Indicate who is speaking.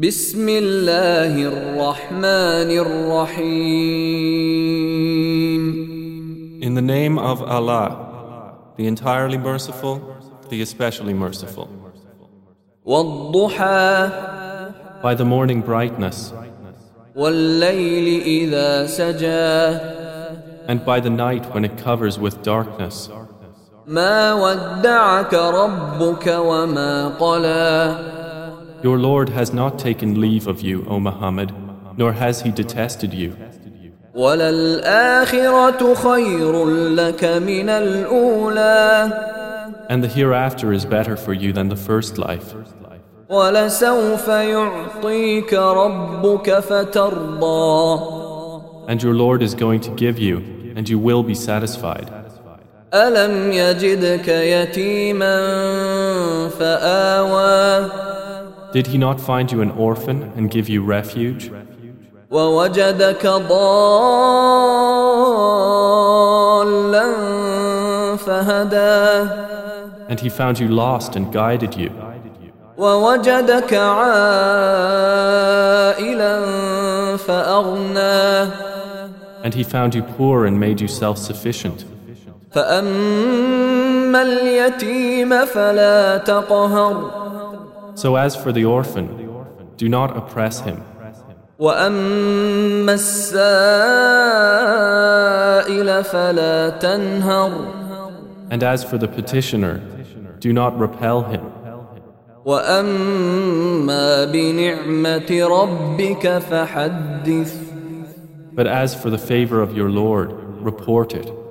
Speaker 1: بسم الله الرحمن الرحيم
Speaker 2: In the name of Allah, the entirely merciful, the especially merciful.
Speaker 1: والضحى
Speaker 2: By the morning brightness,
Speaker 1: والليل إذا سجى
Speaker 2: and by the night when it covers with darkness.
Speaker 1: ما ودعك ربك وما قلى
Speaker 2: Your Lord has not taken leave of you, O Muhammad, nor has he detested you.
Speaker 1: وللآخرة خير لك من الأولى
Speaker 2: And the hereafter is better for you than the first life.
Speaker 1: ولسوف يعطيك ربك فترضى
Speaker 2: And your Lord is going to give you, and you will be satisfied.
Speaker 1: ألم يجدك يتيما فآوى
Speaker 2: Did he not find you an orphan and give you refuge?
Speaker 1: ووجدك ضالا فهدى
Speaker 2: And he found you lost and guided you.
Speaker 1: ووجدك عائلا فأغنى
Speaker 2: And he found you poor and made you self sufficient.
Speaker 1: فأما اليتيم فلا تقهر
Speaker 2: So as for the orphan, do not oppress him.
Speaker 1: وأما السائل فلا تنهر
Speaker 2: And as for the petitioner, do not repel him.
Speaker 1: وأما بنعمة ربك فحدث
Speaker 2: But as for the favor of your Lord, report it.